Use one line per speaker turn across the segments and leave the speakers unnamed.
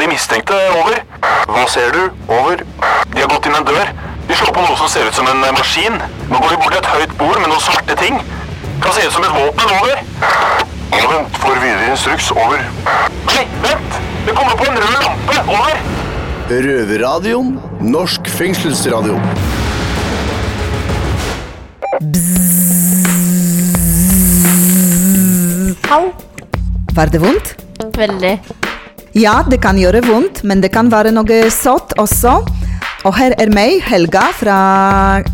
de mistenkte. Over. Hva ser du? Over. De har gått inn en dør. De slår på noe som ser ut som en eh, maskin. Nå går de bort til et høyt bord med noen svarte ting. Kan se ut som et våpen. Over. Vent for videre instruks. Over. Nei, vent! Det kommer på en rød lampe. Over.
Røverradioen. Norsk fengselsradio.
Au.
Var det vondt?
Veldig.
Ja, det kan gjøre vondt, men det kan være noe sått også. Og her er meg, Helga fra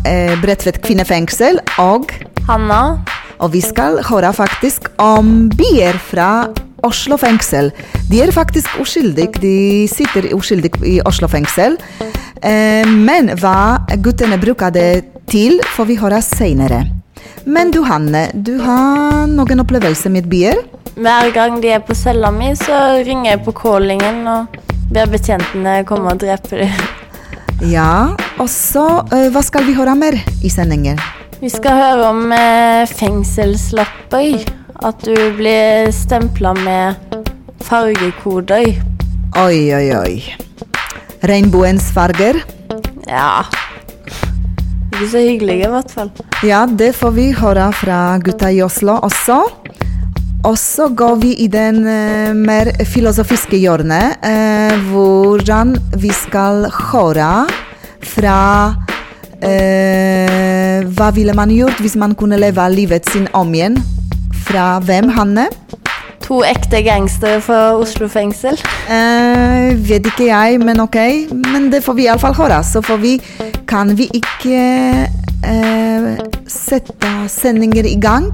eh, Bredtvet kvinnefengsel, og,
Hanna.
og vi skal høre faktisk om bier fra Oslo fengsel. De er faktisk uskyldige, de sitter uskyldig i Oslo fengsel. Eh, men hva guttene bruker det til, får vi høre senere. Men du Hanne, du har noen opplevelser med bier?
Hver gang de er på cella mi, så ringer jeg på callingen og ber betjentene komme og drepe dem.
Ja, og så eh, hva skal vi høre mer i sendingen?
Vi skal høre om eh, fengselslapper. At du blir stempla med fargekoder.
Oi, oi, oi. Regnbuens farger.
Ja Ikke så hyggelige, i hvert fall.
Ja, det får vi høre fra gutta i Oslo også. Og så går vi i den eh, mer filosofiske hjørnet, eh, hvordan vi skal høre fra eh, Hva ville man gjort hvis man kunne leve livet sin om igjen? Fra hvem, Hanne?
To ekte gangstere fra Oslo fengsel.
Eh, vet ikke jeg, men ok. Men det får vi iallfall høre. Så får vi, kan vi ikke eh, sette sendinger i gang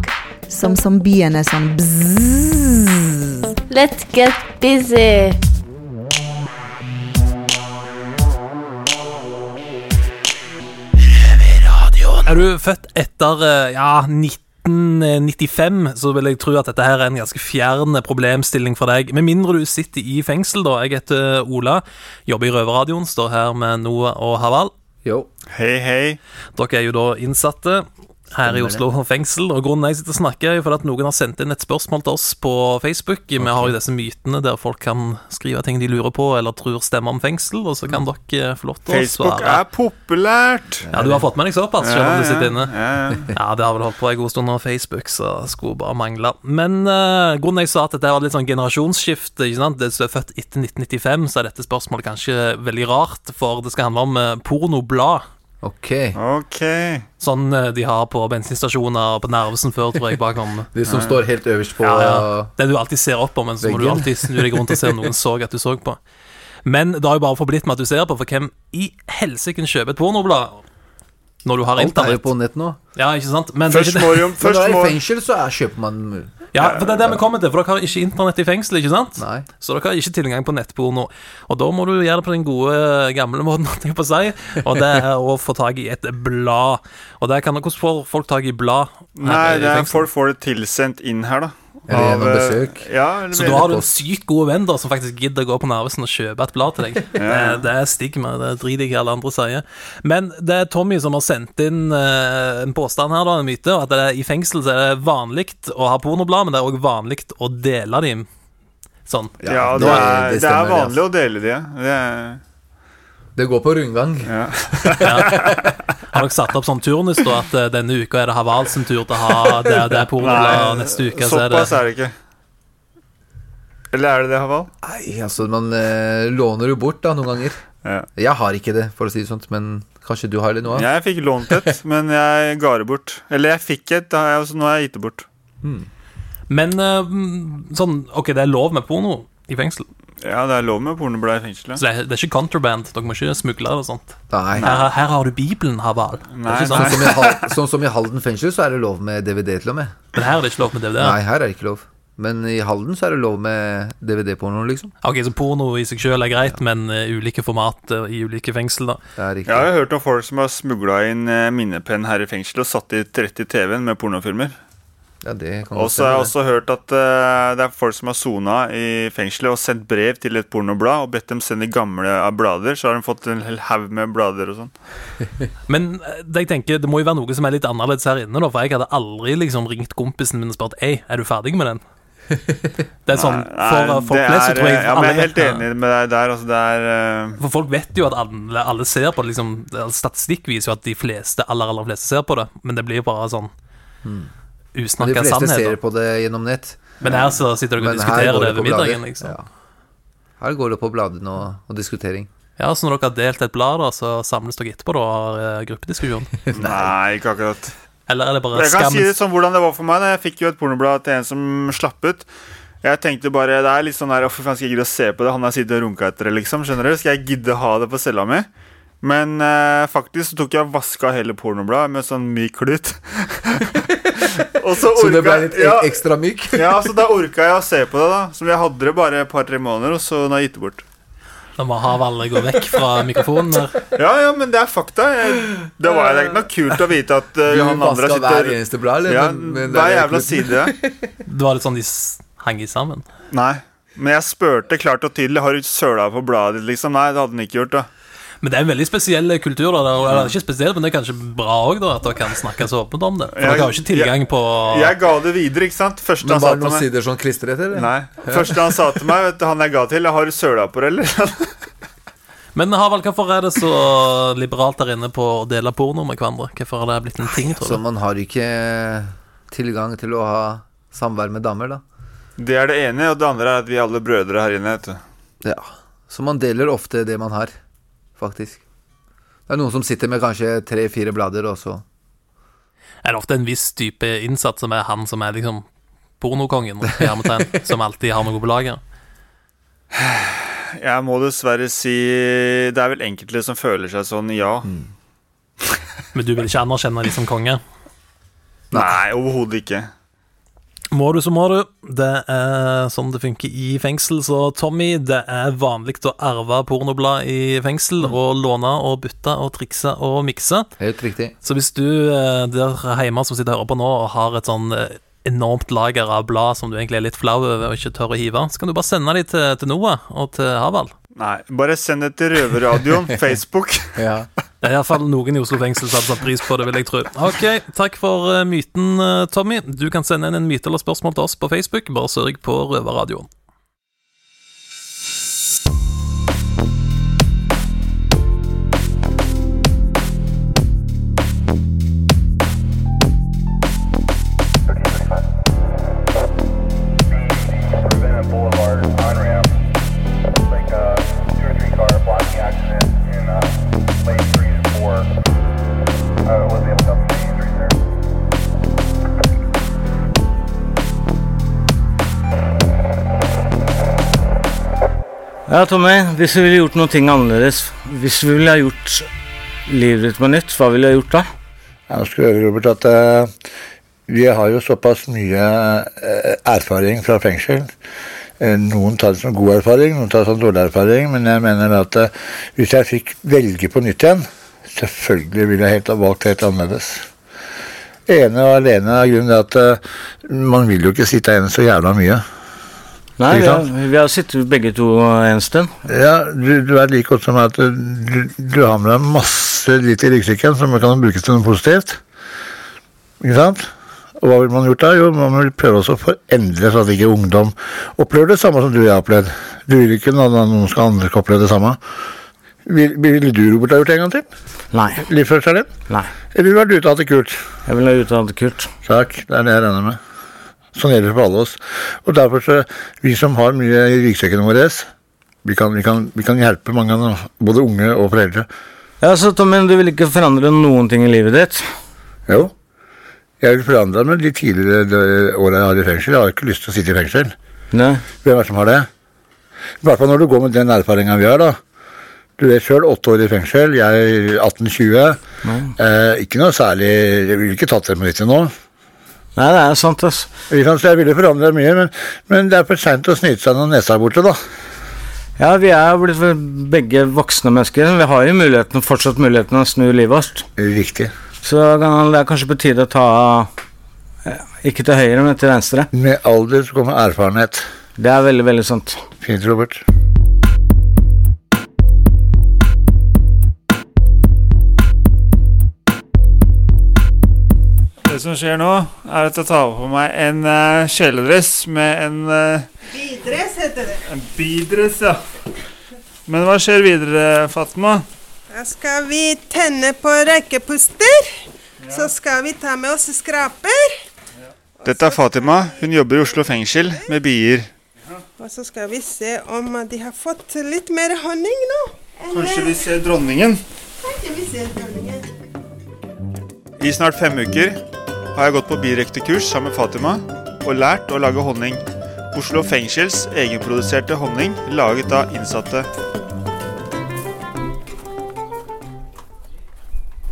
som, som biene sånn bzzz.
Let's get busy.
Er du født etter eh, ja, 1995, så vil jeg tro at dette her er en ganske fjern eh, problemstilling for deg. Med mindre du sitter i fengsel, da. Jeg heter eh, Ola, jobber i Røverradioen, står her med Noah og Haval.
Jo.
Hei, hei.
Dere er jo da innsatte her i Oslo fengsel, og grunnen jeg sitter og snakker, er jo fordi at noen har sendt inn et spørsmål til oss på Facebook. Vi har jo disse mytene der folk kan skrive ting de lurer på eller tror stemmer om fengsel, og så kan dere eh, få lov til å svare.
Facebook er populært.
Ja, du har fått med deg såpass, selv om du sitter inne.
Ja, ja.
Ja, det har vel holdt på en god stund nå, Facebook, så skulle bare mangle. Men eh, grunnen jeg sa at dette var litt sånn generasjonsskifte, ikke sant? Hvis du er født etter 1995, så er dette spørsmålet kanskje veldig rart, for det skal handle om eh, pornoblad.
Ok.
Ok.
Sånn eh, de har på bensinstasjoner og på Nervesen før, tror jeg, bakom.
De som står helt øverst på
Ja, ja. Det du alltid ser opp på, men så må du
Veggen.
alltid snu deg rundt og se om noen så at du så på. Men det har jo bare forblitt med at du ser på, for hvem i helsike kjøper et pornoblad når du har
Alt er jo
internett?
på nett nå.
Ja, ikke sant? Men det er
Først
ikke det-
må jo
Når du
først
er i
må,
fengsel, så er, kjøper man
Ja, for det er det vi kommer til, for dere har ikke internett i fengsel, ikke sant?
Nei.
Så dere har ikke tilgang på nettporno. Og da må du gjøre det på den gode, gamle måten, holdt jeg på å si, og det er å få tak i et blad. Og der kan hvordan får folk tak i blad? her
Nei,
i
det er,
fengsel?
folk får det tilsendt inn her, da.
Eller gjennom
eh,
besøk.
Ja, eller
Så da har du en sykt god venn da som faktisk gidder å gå på Narvesen og kjøpe et blad til deg. Det, det er stigma, det driter jeg i hva alle andre sier. Men det er Tommy som har sendt inn eh, en påstand her, da, en myte, at det er, i fengsel så er det vanlig å ha pornoblad, men det er òg vanlig å dele dem. Sånn.
ja,
det-
det, er, det
det
er
stemmer, det, altså.
vanlig å dele de. Det er,
Det går på rundgang.
Har dere satt opp sånn turnus, da, at eh, denne uka er det Haval sin tur til å ha Ah, det, det er pornoblad, og neste uke så er det
såpass er det ikke. Eller er det det, Haval?
Nei, altså, man eh, låner jo bort da noen ganger.
Ja.
Jeg har ikke det, for å si det sånn, men kanskje du har det nå?
Jeg fikk lånt et, men jeg ga det bort. Eller jeg fikk et, da har jeg, så nå har jeg gitt det bort.
Men eh, sånn, OK, det er lov med porno i fengsel,
Ja, det er lov med pornoblad i fengselet.
så det er, det er ikke contraband. Dere må ikke smugle det og sånt.
Nei.
Her, her har du Bibelen, Haval. Det er
Nei,
ikke
Sånn
sant?
som, i Hal- sånn som i Halden fengsel, så er det lov med DVD til og med.
Men her er det ikke lov med DVD.
Nei, her er det ikke lov. Men i Halden så er det lov med DVD-porno, liksom.
Ok, Så porno i seg sjøl er greit, men eh, ulike format eh, i ulike fengsel, da.
Det er
Jeg
riktig.
har jo hørt om folk som har smugla inn eh, minnepenn her i fengselet og satt de rett i TV-en med pornofilmer.
Ja, det kan
Og
godt
så har
hende,
jeg
det.
også hørt at eh, det er folk som har sona i fengselet og sendt brev til et pornoblad og bedt dem sende gamle eh, blader. Så har de fått en hel haug med blader og sånn.
Men eh, det jeg tenker, det må jo være noe som er litt annerledes her inne, da, for jeg hadde aldri liksom ringt kompisen min og spurt Ei, er du ferdig med den? Det er sånn,
Nei,
For folk
det
flest så
er,
tror jeg
ja, men jeg er
alle-
helt enig med deg der. Altså, det er eh,
For folk vet jo at alle, alle ser på det. Liksom, statistikk viser jo at de fleste, aller, aller fleste ser på det, men det blir jo bare sånn
Hmm. De
usnakka
fleste ser
sannheter.
på det gjennom nett.
Men her så sitter dere og
Men her
diskuterer det
går det
over
på
middagen.
blader.
Liksom. Ja.
Ja. Her går det på bladene og, og diskutering.
Så når dere har delt et blad, da, så samles dere etterpå da, og har eh, gruppediskusjon?
Nei, ikke akkurat.
Eller er det bare
Jeg kan si det
skammens
sånn hvordan det var for meg. Da. Jeg fikk jo et pornoblad til en som slapp ut. Jeg tenkte bare, det er litt sånn der, «Å, fy faen, skal jeg gidde å se på det? Han har sittet og runka etter det, liksom. Skjønner du? Skal jeg gidde ha det på cella mi? Men eh, faktisk så tok jeg og vaska hele pornobladet med sånn myk klut. og så
Så det ble
orka
litt
ja,
ekstra myk.
ja, så da orka jeg å se på det, da. Så jeg hadde det bare et par-tre måneder, og så nå har jeg gitt det bort.
når man har alle går vekk fra mikrofonen? der?
Ja, ja, men det er fakta. Jeg, det var det er ikke noe kult å vite at eh,
Du
han andre
vaska
sitter
hver eneste blad, eller?
ja,
Men- men det er
Hver jævla
kluten.
side.
Det var litt sånn de s- hang i sammen.
Nei, men jeg spurte klart og tydelig Har du søla på bladet ditt, liksom? Nei, det hadde den ikke gjort, da.
Men det er en veldig spesiell kultur. da det er- Eller ikke spesiell, men det er kanskje bra også, da at dere kan snakke så åpent om det. For
Jeg-
Dere har jo ikke tilgang på
Jeg ga det videre, ikke sant? Første
Men
han sa
var det
til
noen
meg
sider sånn klistret, eller?
Nei. Første han sa til meg, vet du, han jeg ga til, har du søla på det, eller?
Men Harald, hvorfor er det så liberalt der inne på å dele porno med hverandre? Hvorfor har det blitt en ting,
Så
tror du?
man har ikke tilgang til å ha samvær med damer, da.
Det er det ene, og det andre er at vi er alle brødre her inne, vet du.
Ja. Så man deler ofte det man har, faktisk. Det er noen som sitter med kanskje tre-fire blader, og så
Er det ofte en viss type innsatt som er han som er liksom pornokongen, i hermetegn, som alltid har noe på lager?
Jeg må dessverre si Det er vel enkelte som føler seg sånn, ja.
Mm.
Men du vil ikke anerkjenne de som konge?
Nei, overhodet ikke.
Må du, så må du. Det er sånn det funker i fengsel. Så Tommy, det er vanlig å arve pornoblad i fengsel, og låne og bytte og trikse og mikse.
Helt riktig.
Så hvis du eh, der hjemme som sitter og hører på nå, og har et sånn eh, enormt lager av blad som du egentlig er litt flau over og ikke tør å hive, så kan du bare sende de til, til Noah og til Havald.
Nei, bare send det til Røverradioen, Facebook.
Ja.
Det er iallfall noen i Oslo fengsel som hadde satt pris på det, vil jeg tro. Ok, takk for eh, myten, eh, Tommy. Du kan sende inn en myte eller spørsmål til oss på Facebook. Bare sørg på Røverradioen.
Savannah Boulevard on ramp. Like uh, two or three car blocking accident in uh, lane three and four. I uh, wasn't able to help any injuries there.
Ja, Tommy, hvis vi ville gjort noen ting annerledes, hvis vi ville ha gjort livet ditt på nytt, hva ville du ha gjort da?
Jeg skulle øve, Robert, at eh, vi har jo såpass mye eh, erfaring fra fengsel. Eh, Noen tar det som god erfaring, noen tar det som dårlig erfaring, men jeg mener at eh, hvis jeg fikk velge på nytt igjen, selvfølgelig ville jeg helt ha valgt helt annerledes. Ene og alene av grunnen til at eh, man vil jo ikke sitte igjen så jævla mye.
Nei,
Ikke
vi har,
sant?
vi har sittet begge to en stund.
Ja, du, du er like godt som meg at eh, du, du har med deg masse dritt i ryggsekken som kan brukes til noe positivt. Ikke sant? Og hva ville man gjort da? Jo, man vil prøve også å forendre sånn at ikke ungdom opplever det samme som du og jeg har opplevd. Du vil ikke at noen skal andre skal oppleve det samme. Vil- Ville du, Robert, ha gjort det en gang til?
Nei.
Livsførselen din?
Nei.
Eller ville du vært ute og hatt det kult?
Jeg ville ha utdannet Kurt.
Takk, det er det jeg regner med. Sånn gjelder det for alle oss. Og derfor så, vi som har mye i ryggsekkene våre, vi kan, vi, kan, vi kan hjelpe mange, av dem, både unge og foreldre.
Ja, så Tommy, du ville ikke forandre noen ting i livet ditt?
Jo, jeg vil forandre meg de tidligere dø- årene jeg har i fengsel. Jeg har ikke lyst til å sitte i fengsel.
Nei.
Hvem er det som har det? I hvert fall når du går med den erfaringa vi har, da. Du vet sjøl, åtte år i fengsel, jeg 18-20. Eh, ikke noe særlig Jeg ville ikke tatt det med til nå.
Nei, det er sant, ass.
Ikke sant, så jeg ville forandre mye, men, men det er for seint å snyte seg når nesa er borte, da.
Ja, vi er jo blitt vel begge voksne mennesker. Vi har jo muligheten, fortsatt muligheten å snu livet vårt.
Riktig.
Så kan- det er kanskje på tide å ta eh, Ikke til høyre, men til venstre.
Med alder så kommer erfarenhet.
Det er veldig, veldig sant.
Fint, Robert.
Det som skjer nå, er at jeg tar på meg en eh, kjeledress med en eh,
Bidress heter det.
En bidress, ja. Men hva skjer videre, Fatma?
Da skal vi tenne på røykepuster. Så skal vi ta med oss skraper.
Dette er Fatima. Hun jobber i Oslo fengsel med bier.
Og så skal vi se om de har fått litt mer honning nå.
Kanskje vi ser dronningen?
Kanskje vi ser honningen.
I snart fem uker har jeg gått på birektekurs sammen med Fatima og lært å lage honning. Oslo fengsels egenproduserte honning laget av innsatte.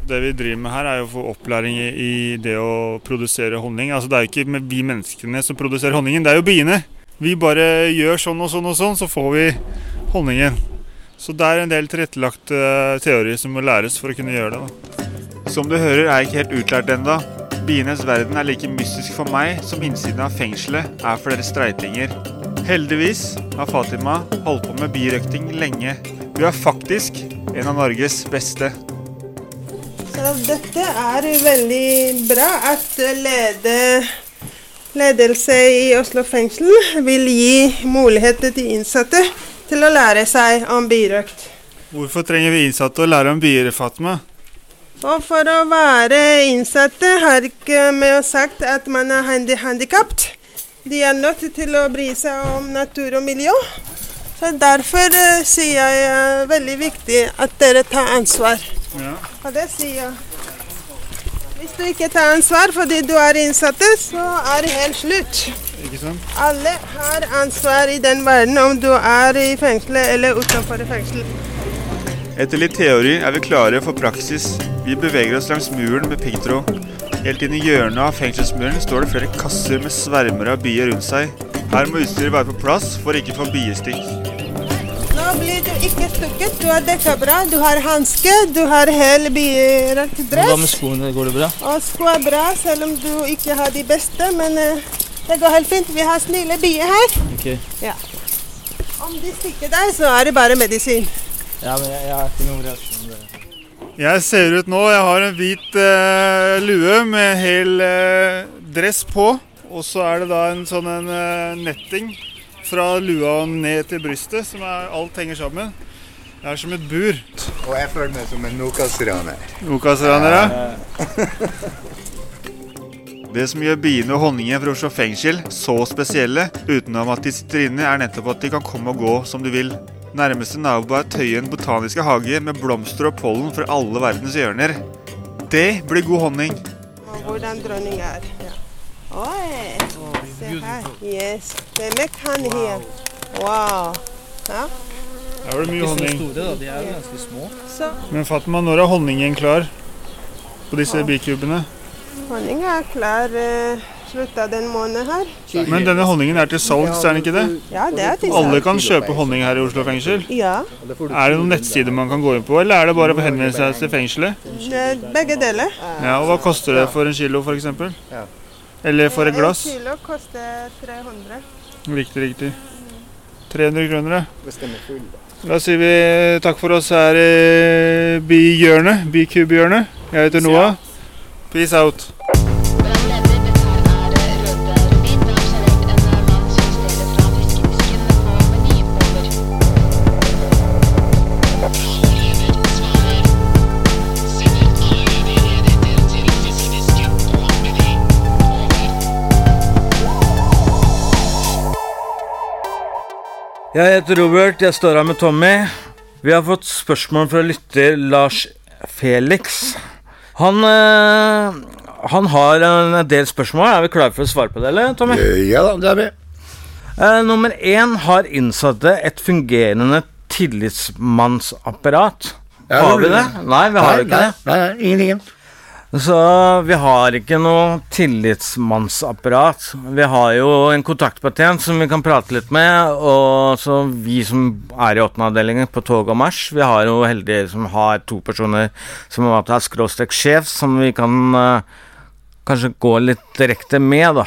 Det vi driver med her, er jo å få opplæring i i det å produsere honning. Altså, det er jo ikke med- vi menneskene som produserer honningen, det er jo biene. Vi bare gjør sånn og sånn og sånn, så får vi honningen. Så det er en del tilrettelagt eh, teori som må læres for å kunne gjøre det. da. Som du hører, er jeg ikke helt utlært ennå. Bienes verden er like mystisk for meg som innsiden av fengselet er for dere streitinger. Heldigvis har Fatima holdt på med birøkting lenge. Hun er faktisk en av Norges beste.
Så dette er veldig bra at lede, ledelse i Oslo fengsel vil gi muligheter til innsatte til å lære seg om birøkt.
Hvorfor trenger vi innsatte å lære om bier, Fatma?
Og for å være innsatte har ikke med å sagt at man er handi handikapt. De er nødt til å bry seg om natur og miljø. Så derfor eh, sier jeg eh, veldig viktig at dere tar ansvar.
Ja.
Og det sier jeg. Hvis du ikke tar ansvar fordi du er innsatte, så er det helt slutt.
Ikke sant?
Alle har ansvar i den verden, om du er i fengselet eller utenfor fengsel.
Etter litt teori er vi klare for praksis. Vi beveger oss langs muren med piggtråd. Helt inn i hjørnet av fengselsmuren står det flere kasser med svermer av bier rundt seg. Her må utstyret være på plass for ikke å få biestikk.
Nå blir du ikke stukket. Du har dekka bra, du har hanske, du har hel birøkt
Hva med
dress.
skoene, går det bra?
Og sko er bra, selv om du ikke har de beste. Men eh, det går helt fint. Vi har snille bier her.
Ok.
Ja. Om de stikker deg, så er det bare medisin.
Ja, men jeg, jeg har ikke noen reaksjon.
Jeg ser ut nå, jeg har en hvit eh, lue med hel eh, dress på. Og så er det da en sånn en, eh, netting fra lua og ned til brystet, som er, alt henger sammen. Jeg er som et bur.
Og jeg føler meg som en Nokas-raner.
Nokas-raner, ja. Det som gjør biene og honningen fra Oslo fengsel så spesielle, utenom at de sitter inne, er nettopp at de kan komme og gå som du vil. Nærmeste nabo er Tøyen botaniske hage med blomster og pollen fra alle verdens hjørner. Det blir god honning.
Og hvordan dronning er. Ja. Oi, se her. Yes. Det er med kan her. Wow. Ja.
Her var det mye
Ikke så
honning.
store, da. De er jo ganske små.
Så
Men Fatma, når er honningen klar på disse bikubene?
honning er klar eh, slutt av den måneden her.
Men denne honningen er til salgs, er den ikke det?
Ja, det er til
Alle
salg.
kan kjøpe honning her i Oslo fengsel.
Ja.
Er det noen nettsider man kan gå inn på, eller er det bare å henvende seg til fengselet?
Eh, Begge deler.
Ja, og Hva koster det for en kilo, f.eks.? Eller for et glass?
En kilo koster 300.
Riktig, riktig. 300 kroner, ja.
Bestemmer full, da.
Da sier vi takk for oss her i Bihjørnet. Bikubhjørnet. Jeg heter Noah. Peace out.
Jeg heter Robert, jeg står her med Tommy. Vi har fått spørsmål fra lytter Lars Felix. Han, eh, han har en del spørsmål. Er vi klare for å svare på det, eller, Tommy?
Ja da, det er vi.
Eh, nummer én har innsatte et fungerende tillitsmannsapparat.
Ja,
har vi
det-
det? Nei, vi har
Nei,
jo ikke
nei,
det. Nei, nei, ingen, Så vi har ikke noe tillitsmannsapparat. Vi har jo en kontaktpatient som vi kan prate litt med, og så vi som er i åttende avdelingen på tog og marsj, vi har jo heldige som har to personer som har skråstrek sjef, som vi kan eh, kanskje gå litt direkte med, da.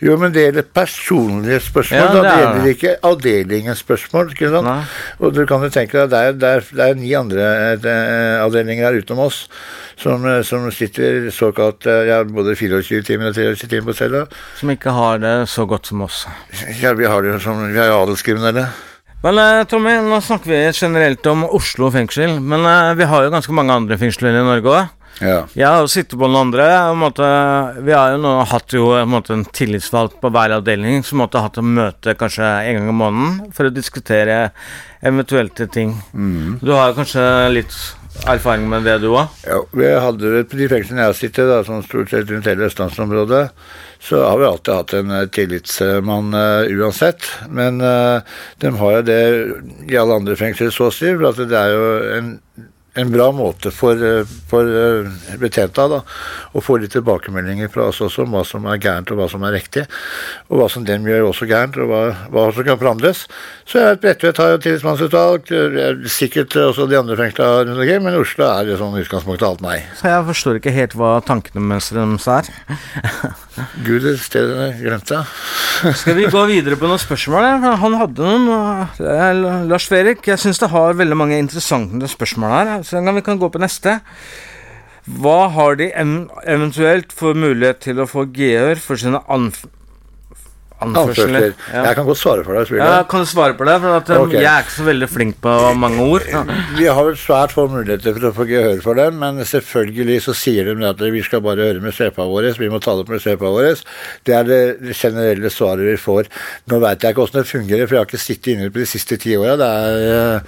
Jo, men det gjelder personlige spørsmål.
Ja,
da
det
det
er
gjelder
det.
ikke avdelingens spørsmål. Ikke sant? Og du kan jo tenke deg, det er, det er, det er ni andre eh, avdelinger her utenom oss som, eh, som sitter såkalt eh, ja, både 24 timer og 23 timer på cella.
Som ikke har det så godt som oss.
Ja, vi har det jo som Vi er jo adelskriminelle.
Men eh, Tommy, nå snakker vi generelt om Oslo fengsel, men eh, vi har jo ganske mange andre fengsler i Norge òg.
Ja.
Jeg har jo sittet på den andre. og på en måte, vi har jo nå hatt jo, eh, på en, måte, en tillitsvalgt på hver avdeling som måtte ha hatt et møte kanskje en gang i måneden for å diskutere eventuelle ting.
Mhm.
Du har jo kanskje litt erfaring med det, du òg?
Ja, vi hadde vel på de fengslene jeg har sittet, da, som stort sett rundt hele østlandsområdet, så har vi alltid hatt en eh, tillitsmann eh, uansett. Men eh, de har jo det i alle andre fengsler, så å si. For at det er jo en, en bra måte for, eh, for eh, betjenta da, å få litt tilbakemeldinger fra oss også om hva som er gærent og hva som er riktig. Og hva som dem gjør også gærent, og hva, hva som kan forandres. Så jeg vet Bredtvet har jo tillitsmannsutvalg, eh, sikkert eh, også de andre fengslene rundt omkring, men Oslo er jo sånn i utgangspunktet alt nei.
Så jeg forstår ikke helt hva tankene deres er.
Gud, det stedet jeg glemte.
Skal vi gå videre på noen spørsmål? ja? Han hadde noen. og- Det er L- Lars Ferik, jeg syns det har veldig mange interessante spørsmål her. Så kan vi kan gå på neste. Hva har de ev eventuelt for mulighet til å få gehør for sine anf anførsler?
Anførsler. Jeg kan godt svare for deg. hvis du vil.
Ja, kan du svare på det? For at, um,
Ok.
jeg er ikke så veldig flink på mange ord.
Vi har vel svært få muligheter for å få gehør for dem, men selvfølgelig så sier de det at vi skal bare høre med sjefa vår, vi må ta det opp med sjefa vår. Det er det generelle svaret vi får. Nå veit jeg ikke åssen det fungerer, for jeg har ikke sittet inne på de siste ti åra. Det er, eh,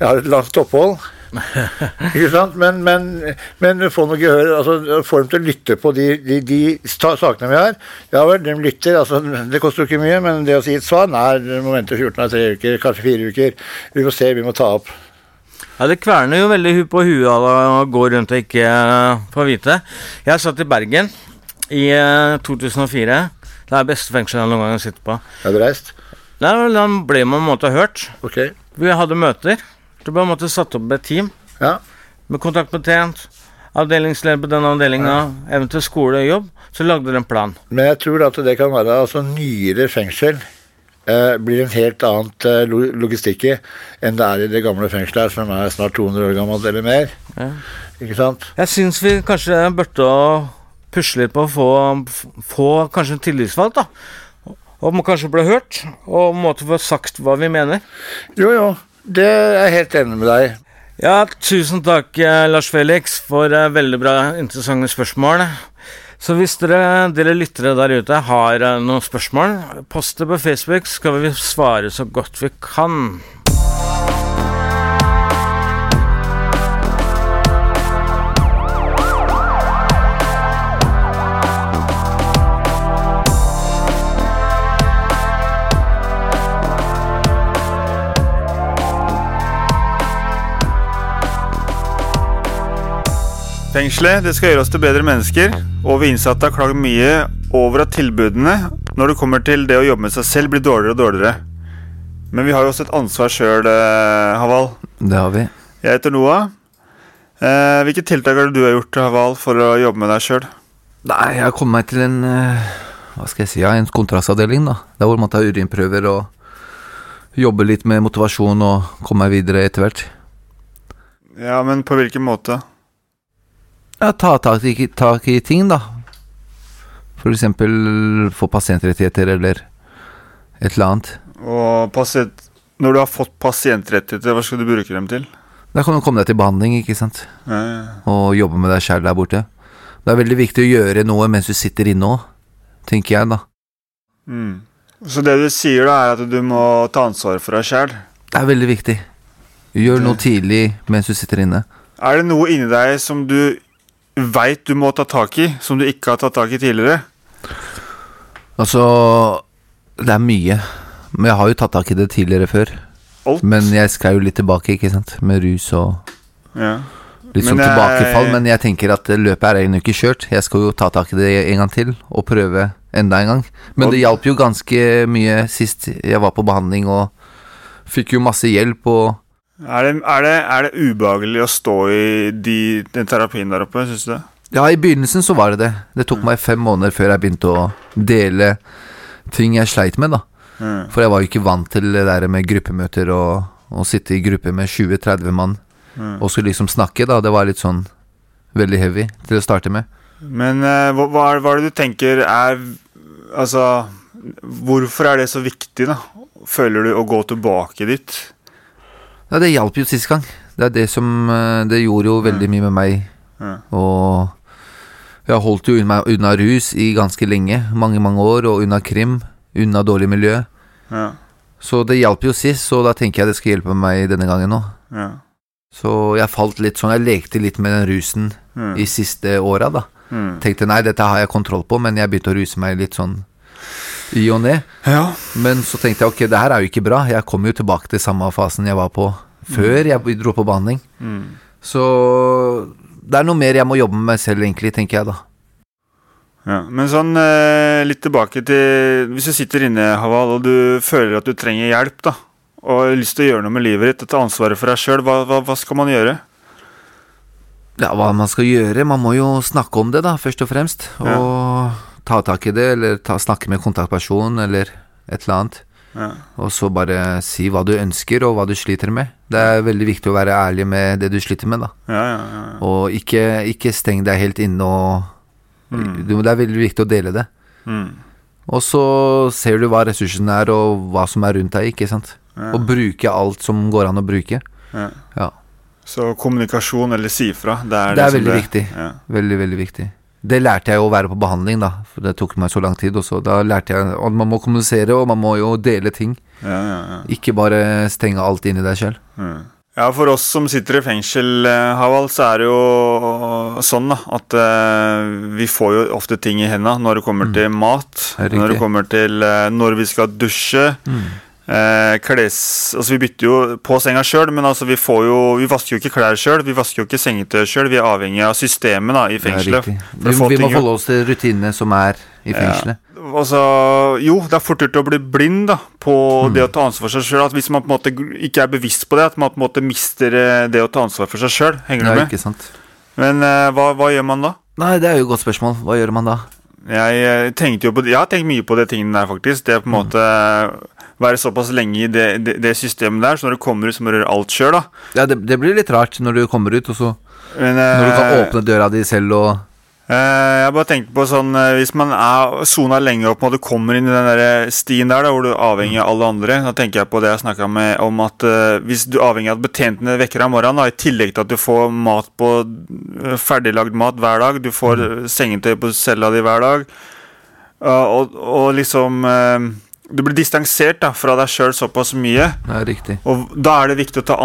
Jeg har et langt opphold. Ikke sant? Men, men, men få noe gehør, altså få dem til å lytte på de, de, de sta- sakene vi har. Ja vel, de lytter. altså Det koster jo ikke mye, men det å si et svar Nei, du må vente 14 av 3 uker, kanskje 4 uker. Vi får se, vi må ta opp.
Ja, Det kverner jo veldig hu- på huet av å gå rundt og ikke eh, få vite. Jeg satt i Bergen i eh, 2004. Det er beste fengsel jeg noen gang har sittet på.
Er du reist?
Nei, vel, Da ble man på en måte hørt.
Ok.
Vi hadde møter. Det ble på en måte satt opp et team
Ja.
med kontaktbetjent, avdelingsleder på den avdelinga, eventuelt skole og jobb. Så lagde de en plan.
Men jeg tror at det kan være altså nyere fengsel eh, blir en helt annet eh, lo- logistikk i enn det er i det gamle fengselet her, som er snart 200 år gammelt eller mer. Ikke sant?
Jeg syns vi kanskje burde å pusle litt på å få, få kanskje en tillitsvalgt, da. Og må kanskje bli hørt, og måtte få sagt hva vi mener.
Jo, jo. Det er jeg helt enig med deg
Ja, tusen takk, eh, Lars Felix, for eh, veldig bra, interessante spørsmål. Så hvis dere, dere lyttere der ute har eh, noen spørsmål, post det på Facebook, så skal vi svare så godt vi kan.
Fengselet det skal gjøre oss til bedre mennesker, og vi innsatte har klaget mye over at tilbudene når det kommer til det å jobbe med seg selv, blir dårligere og dårligere. Men vi har jo også et ansvar sjøl, Haval.
Det har vi.
Jeg heter Noah. Eh, hvilke tiltak har du gjort Haval, for å jobbe med deg sjøl?
Nei, jeg har kommet meg til en eh, Hva skal jeg si, ja, en kontrastavdeling, da. Der hvor man tar urinprøver og jobber litt med motivasjon og kommer meg videre etter hvert.
Ja, men på hvilken måte?
Ja, ta tak i, tak i ting, da. For eksempel få pasientrettigheter eller et eller annet.
Og pasient, når du har fått pasientrettigheter, hva skal du bruke dem til?
Da kan du komme deg til behandling, ikke sant.
Ja, ja.
Og jobbe med deg sjæl der borte. Det er veldig viktig å gjøre noe mens du sitter inne òg, tenker jeg, da.
Mm. Så det du sier, da, er at du må ta ansvar for deg sjæl?
Det er veldig viktig. Gjør noe tidlig mens du sitter inne.
Er det noe inni deg som du veit du må ta tak i, som du ikke har tatt tak i tidligere?
Altså Det er mye. Men jeg har jo tatt tak i det tidligere før.
Alt.
Men jeg skal jo litt tilbake, ikke sant. Med rus og
Ja.
litt
Men
sånn
eh,
jeg-
tilbakefall. Men jeg tenker at eh, løpet er egentlig ikke kjørt. Jeg skal jo ta tak i det en gang til, og prøve enda en gang. Men
Og-
det hjalp jo ganske mye sist jeg var på behandling, og fikk jo masse hjelp og
Er det, er, det, er det ubehagelig å stå i de, den terapien der oppe, syns du det?
Ja, i begynnelsen så var det det. Det tok meg fem måneder før jeg begynte å dele ting jeg sleit med, da.
Mm.
For jeg var jo ikke vant til det der med gruppemøter og å sitte i gruppe med 20-30 mann
Mm.
og skulle liksom snakke, da. Det var litt sånn veldig heavy til å starte med.
Men eh, hva, hva, er, hva er det du tenker er Altså, hvorfor er det så viktig, da? Føler du å gå tilbake dit?
Ja, det hjalp jo sist gang. Det er det som eh, Det gjorde jo veldig mye med meg.
Ja.
Og jeg holdt jo unna, unna rus i ganske lenge. Mange, mange år. Og unna krim. Unna dårlig miljø.
Ja.
Så det hjalp jo sist, så da tenker jeg det skal hjelpe meg denne gangen nå.
Ja.
Så jeg falt litt sånn Jeg lekte litt med den rusen
Mm.
i siste åra, da.
Mm.
Tenkte nei, dette har jeg kontroll på, men jeg begynte å ruse meg litt sånn i og ned. Men så tenkte jeg ok, det her er jo ikke bra. Jeg kommer jo tilbake til samme fasen jeg var på før jeg dro på behandling.
Mm.
Så det er noe mer jeg må jobbe med meg selv, egentlig, tenker jeg da.
Ja, men sånn eh, litt tilbake til Hvis du sitter inne, Haval, og du føler at du trenger hjelp, da, og har lyst til å gjøre noe med livet ditt og ta ansvaret for deg sjøl, hva, hva, hva skal man gjøre?
Ja, hva man skal gjøre? Man må jo snakke om det, da, først og fremst. Og ta tak i det, eller ta, snakke med kontaktperson, eller et eller annet.
Ja.
Og så bare si hva du ønsker, og hva du sliter med. Det er veldig viktig å være ærlig med det du sliter med, da.
Ja, ja, ja.
Og ikke, ikke steng deg helt inne og
Mm.
du, Det er veldig viktig å dele det.
Mm.
Og så ser du hva ressursene er, og hva som er rundt deg, ikke sant.
Ja.
Og bruke alt som går an å bruke.
Ja.
Ja.
Så kommunikasjon eller si fra, det er
Det er
som
veldig viktig.
Ja.
Veldig, veldig viktig. Det lærte jeg jo å være på behandling, da. For det tok meg så lang tid også. Da lærte jeg at man må kommunisere, og man må jo dele ting.
Ja, ja, ja.
Ikke bare stenge alt inni deg sjøl.
Mm. Ja, for oss som sitter i fengsel, eh, Haval, så er det jo sånn da, at eh, vi får jo ofte ting i hendene når det kommer til mat,
Mm. Det er
når det
riktig.
kommer til eh, når vi skal dusje,
Mm.
eh, kles, altså vi bytter jo på senga selv, men altså vi får jo, vi vasker jo ikke klær selv, vi vasker jo ikke sengetøy selv, vi er avhengig av systemet da, i
Det er
fengselet.
riktig.
for å
Vi,
få
vi
ting
må
gjort.
forholde oss til rutinene som er i fengselet.
Ja. Altså, jo, det er fort gjort å bli blind da, på
Mm.
det å ta ansvar for seg sjøl. Hvis man på en måte ikke er bevisst på det, at man på en måte mister eh, det å ta ansvar for seg sjøl. Henger
Ja,
du med?
ikke sant.
Men eh, hva, hva gjør man da?
Nei, det er jo et godt spørsmål. Hva gjør man da?
Jeg, eh, tenkte jo på, jeg har tenkt mye på de tingene der, faktisk. Det er på
Mm.
en måte eh, være såpass lenge i det, det, det systemet der, så når du kommer ut, så må du gjøre alt sjøl, da.
Ja, det, det blir litt rart når du kommer ut, og så
Men,
Når du kan
eh,
åpne døra di selv og
Eh, Jeg bare tenker på sånn eh, Hvis man er sona lenge og på en måte kommer inn i den der stien der da, hvor du er avhengig av alle andre Da tenker jeg på det jeg snakka med om at eh, hvis du er avhengig av at betjentene vekker deg om morgenen, da, i tillegg til at du får mat på eh, ferdiglagd mat hver dag, du får
Mm.
eh, sengetøy på cella di hver dag eh, og, og liksom eh, Du blir distansert da, fra deg sjøl såpass mye.
Det er riktig.
Og da er det viktig å ta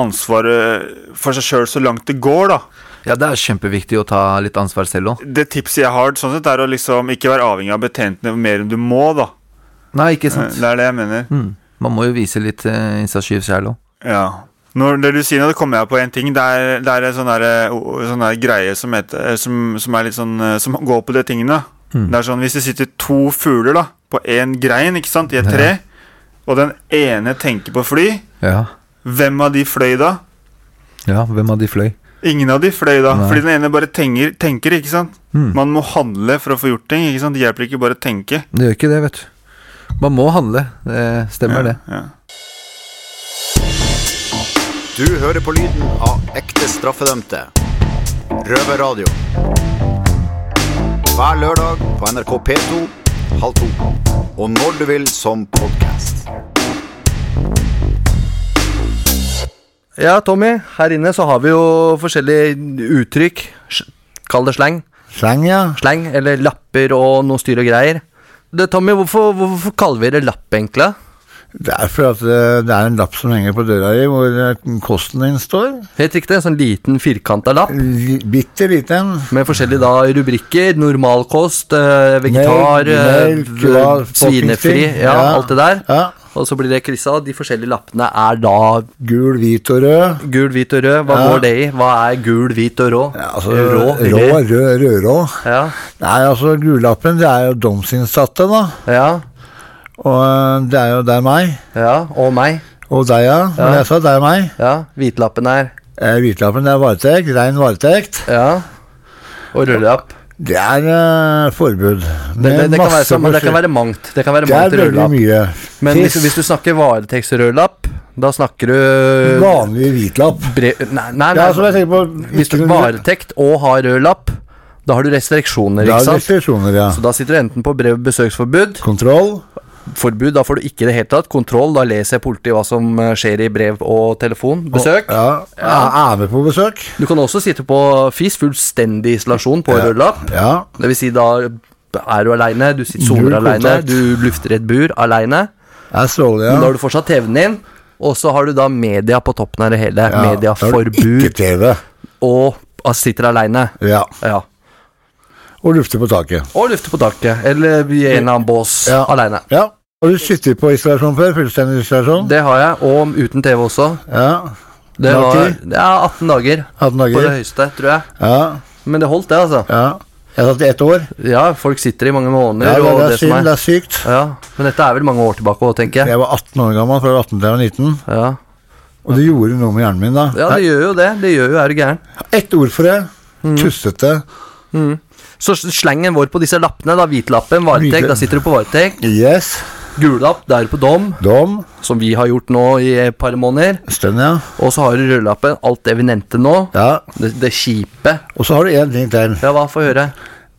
ansvaret for seg sjøl så langt det går, da.
Ja, det er kjempeviktig å ta litt ansvar selv òg.
det tipset jeg har, sånn sett er å liksom ikke være avhengig av betjentene mer enn du må, da. Eh,
Nei, ikke sant.
Det er det jeg mener.
Mm. Man må jo vise litt eh, initiativ selv òg.
Ja. Når det du sier nå, det kommer jeg på en ting. Det er, det er en sånn der, o- sånn der greie som, heter, eh, som, som er litt sånn eh, Som går på de tingene.
Mm.
Det er sånn hvis det sitter to fugler da på én grein, ikke sant, i et
Ja.
tre, og den ene tenker på fly,
Ja.
hvem av de fløy da?
ja, hvem av de fløy?
Ingen av de fløy da,
Nei.
fordi den ene bare tenker, tenker ikke sant?
Mm.
Man må handle for å få gjort ting, ikke sant? Det hjelper ikke bare å tenke.
Det gjør ikke det, vet du. Man må handle. Det stemmer, det.
Ja.
Du hører på lyden av ekte straffedømte. Røverradio. Hver lørdag på NRK P2 halv to. Og når du vil som podkast.
Ja, Tommy, her inne så har vi jo forskjellige uttrykk. Sj- Kall det slang. Slang, ja. Slang, eller lapper og noe styr og greier. Det, Tommy, hvorfor, hvorfor kaller vi det lapp, egentlig?
Det er for at eh, det er en lapp som henger på døra di, hvor eh, kosten din står.
Helt riktig, en sånn liten firkanta lapp. Bitte liten. Med forskjellige da rubrikker. Normalkost, eh, vegetar, eh,
Melk, hva,
svinefri,
poppingting,
ja,
ja.
alt det der. Og så blir det kryssa. De forskjellige lappene er da
Gul, hvit og rød.
Gul, hvit og rød. Hva
Ja.
går det i? Hva er gul, hvit og rå?
Altså,
rå,
rå, rød,
eller?
rødrå.
Ja.
Nei, altså, gullappen, det er jo domsinnsatte, da.
Ja.
Og eh, det er jo det er meg.
Ja, og meg.
Og deg, ja. Men
Ja.
jeg sa det er meg.
Ja, hvitlappen er
eh, Hvitlappen det er varetekt. Rein varetekt.
Ja. Og rullelapp?
Det er eh, forbud.
Det, det, det, kan være,
masse
som- det kan
forskjell-
være mangt. Det kan være
Det er
mangt
veldig
rullelapp.
mye.
Men hvis,
Fisk.
hvis du snakker varetektsrullapp, da snakker du
Vanlig hvitlapp.
Bre nei, nei,
Ja,
nei.
som jeg tenker på
Hvis du varetekt og har rød lapp, da har du restriksjoner,
Da er
ikke
det
sant?
restriksjoner, ja.
Så da sitter du enten på brev besøksforbud
Kontroll.
Forbud, da får du ikke i det hele tatt. Kontroll, da leser politiet hva som eh, skjer i brev og telefon. Besøk.
Ja, Er med på besøk.
Du kan også sitte på FIS, fullstendig isolasjon på rød lapp. Det vil si, da er du aleine, du sitter
Null
soner aleine,
kontakt.
du lufter et bur aleine.
ja.
Men da har du fortsatt TV-en din, og så har du da media på toppen av det hele.
Ja, da har du
Mediaforbud.
ikke TV.
Og altså, sitter aleine.
Ja.
ja.
Og lufte på taket.
Og lufte på taket, eller i en eller annen bås
Ja.
alene.
Ja. Har du sittet på isolasjon før? Fullstendig isolasjon?
Det har jeg, og uten TV også.
Ja.
Det
Lang
var
tid?
ja, 18 dager
18 dager.
på det høyeste, tror jeg.
Ja.
Men det holdt, det, altså.
Ja. Jeg satt i ett år.
Ja, folk sitter i mange måneder.
Ja, det-
og
det er
som
synd, det er sykt.
Ja, Men dette er vel mange år tilbake òg, tenker jeg.
Jeg var 18 år gammel, fra jeg var 18 til jeg var 19. Og det gjorde noe med hjernen min da.
Ja, det gjør jo det. Det gjør jo, er du gæren.
Ett ord for det.
Mhm.
Tussete.
Mm. Så s- slengen vår på disse lappene, da. Hvitlappen, varetekt.
Hvite-
Da sitter du på varetekt.
Yes.
Gullapp, da er du på dom.
Dom.
Som vi har gjort nå i et par måneder.
Stund, ja.
Og så har du rødlappen. Alt det vi nevnte nå.
Ja.
Det, det kjipe.
Og så har du én ting til.
Ja, hva? Få høre.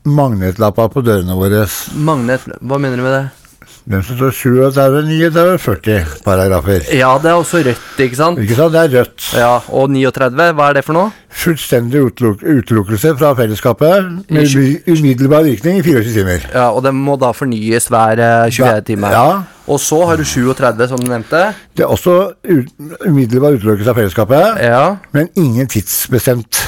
Magnetlappa på dørene våre.
Magnet Hva mener du med det?
Den som står 37, 39, 40 paragrafer.
Ja, det er også rødt, ikke sant?
Ikke sant? Det er rødt.
Ja, Og 39, hva er det for noe?
Fullstendig uteluk utelukkelse fra fellesskapet med umy- umiddelbar virkning i 24 timer.
Ja, Og den må da fornyes hver eh, 24 time.
Ja.
Og så har du 37, som du nevnte.
Det er også ut umiddelbar utelukkelse av fellesskapet, men ingen tidsbestemt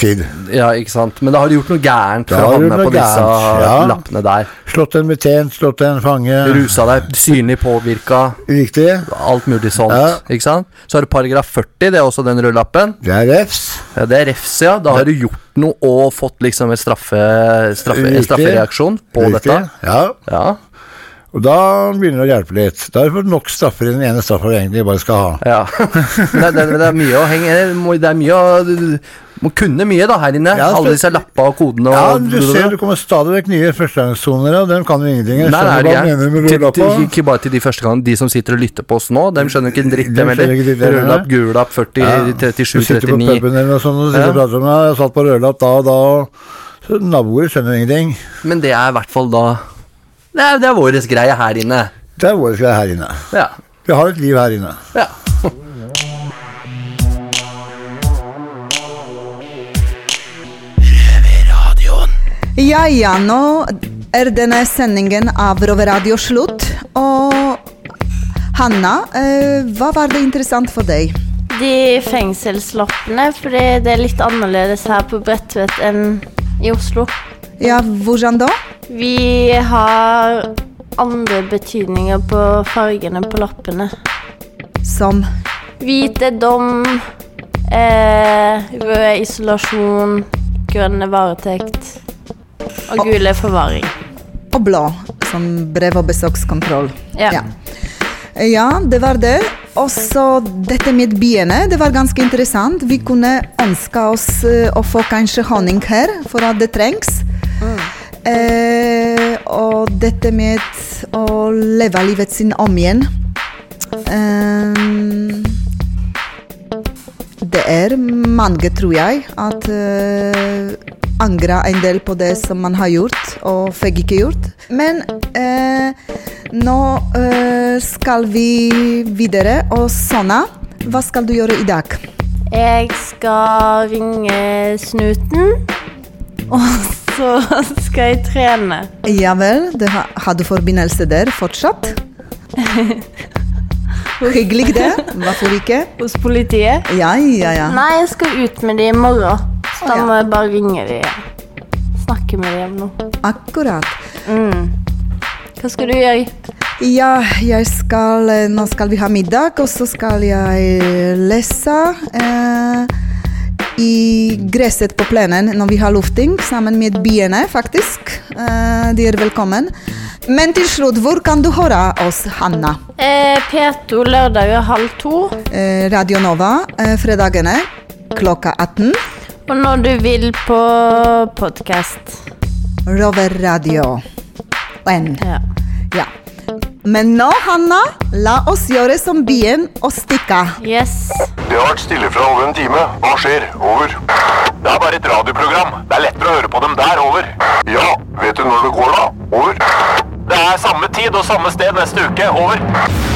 tid.
Ja, ikke sant. Men da har du gjort noe gærent for
Da
å
har du
havne
noe
på disse
gærent, ja.
lappene der.
Slått en betjent, slått en fange
Rusa deg, synlig påvirka.
Riktig.
Alt mulig sånt.
Ja.
ikke sant? Så har du paragraf 40, det er også den rødlappen.
Det er refs.
Ja, det er refs, ja. Da har du gjort noe og fått liksom en straffe, straffe, en
Riktig.
straffereaksjon på
Riktig.
dette.
Ja.
ja.
Og da begynner det å hjelpe litt. Da har du fått nok straffer i den ene straffa du egentlig bare skal ha.
Ja. det, det, det er mye å henge det må- Det er mye å du- du må kunne mye da her inne.
Ja,
Alle
spes-
disse lappa og kodene og
Ja, du ser det kommer stadig vekk nye førstegangssoner, og dem kan jo ingenting. Jeg
Nei, nei,
skjønner
det
hva du
er
mener med
til,
rullelappa.
til, ikke bare til de første gangene. De som sitter og lytter på oss nå, dem skjønner ikke en dritt.
De
Dem
skjønner
heller.
ikke dritt, dem heller.
Rødlapp, gul lapp, 40,
Du
37,
sitter på
39.
puben eller noe sånt og sitter
Ja.
og prater om ja, jeg satt på rødlapp da og da, og så naboer skjønner ingenting.
Men det er i hvert fall da Det er, det er vår greie her inne.
Det er vår greie her inne.
Ja.
Vi har et liv her inne.
ja.
Ja, ja, nå er denne sendingen av Roveradio slutt. Og Hanna, eh, hva var det interessant for deg?
De fengselsloppene, fordi det er litt annerledes her på Bredtvet enn i Oslo.
Ja, hvordan da?
Vi har andre betydninger på fargene på loppene.
Som
Hvit er dom, eh, rød er isolasjon, grønn er varetekt, og gul er forvaring.
og blå, som brev og besøkskontroll.
Ja.
Ja, det var det. Og så dette med biene, det var ganske interessant. Vi kunne ønske oss eh, å få kanskje honning her, for at det trengs. Eh, og dette med å leve livet sin om igjen. Ehm, det er mange, tror jeg, at uh, angrer en del på det som man har gjort, og fikk ikke gjort. Men eh, nå eh, skal vi videre. Og Sanna, hva skal du gjøre i dag?
Jeg skal ringe snuten, og så skal jeg trene.
Ja vel, det ha, har du forbindelse der fortsatt? Hyggelig det. Hvorfor ikke?
Hos politiet?
Ja, ja, ja.
Nei, jeg skal ut med de i morgen, så da må jeg bare ringe de. Snakke med de om noe.
Akkurat.
Mm. Hva skal du gjøre?
Ja, jeg skal, eh, nå skal vi ha middag, og så skal jeg lese eh, i gresset på plenen når vi har lufting, sammen med biene, faktisk. Eh, de er velkommen. Men til slutt, hvor kan du høre oss, Hanna?
Eh, P2 lørdag halv to.
Eh, Radio Nova, eh, fredagene klokka 18.
Og når du vil på podkast.
Rover Radio. N. Ja. Men nå, Hanna, la oss gjøre som byen og stikke.
Yes.
Det har vært stille fra over en time. Hva skjer? Over. Det er bare et radioprogram. Det er lettere å høre på dem der. Over. Ja, vet du når det går, da? Over. Det er samme tid og samme sted neste uke. Over.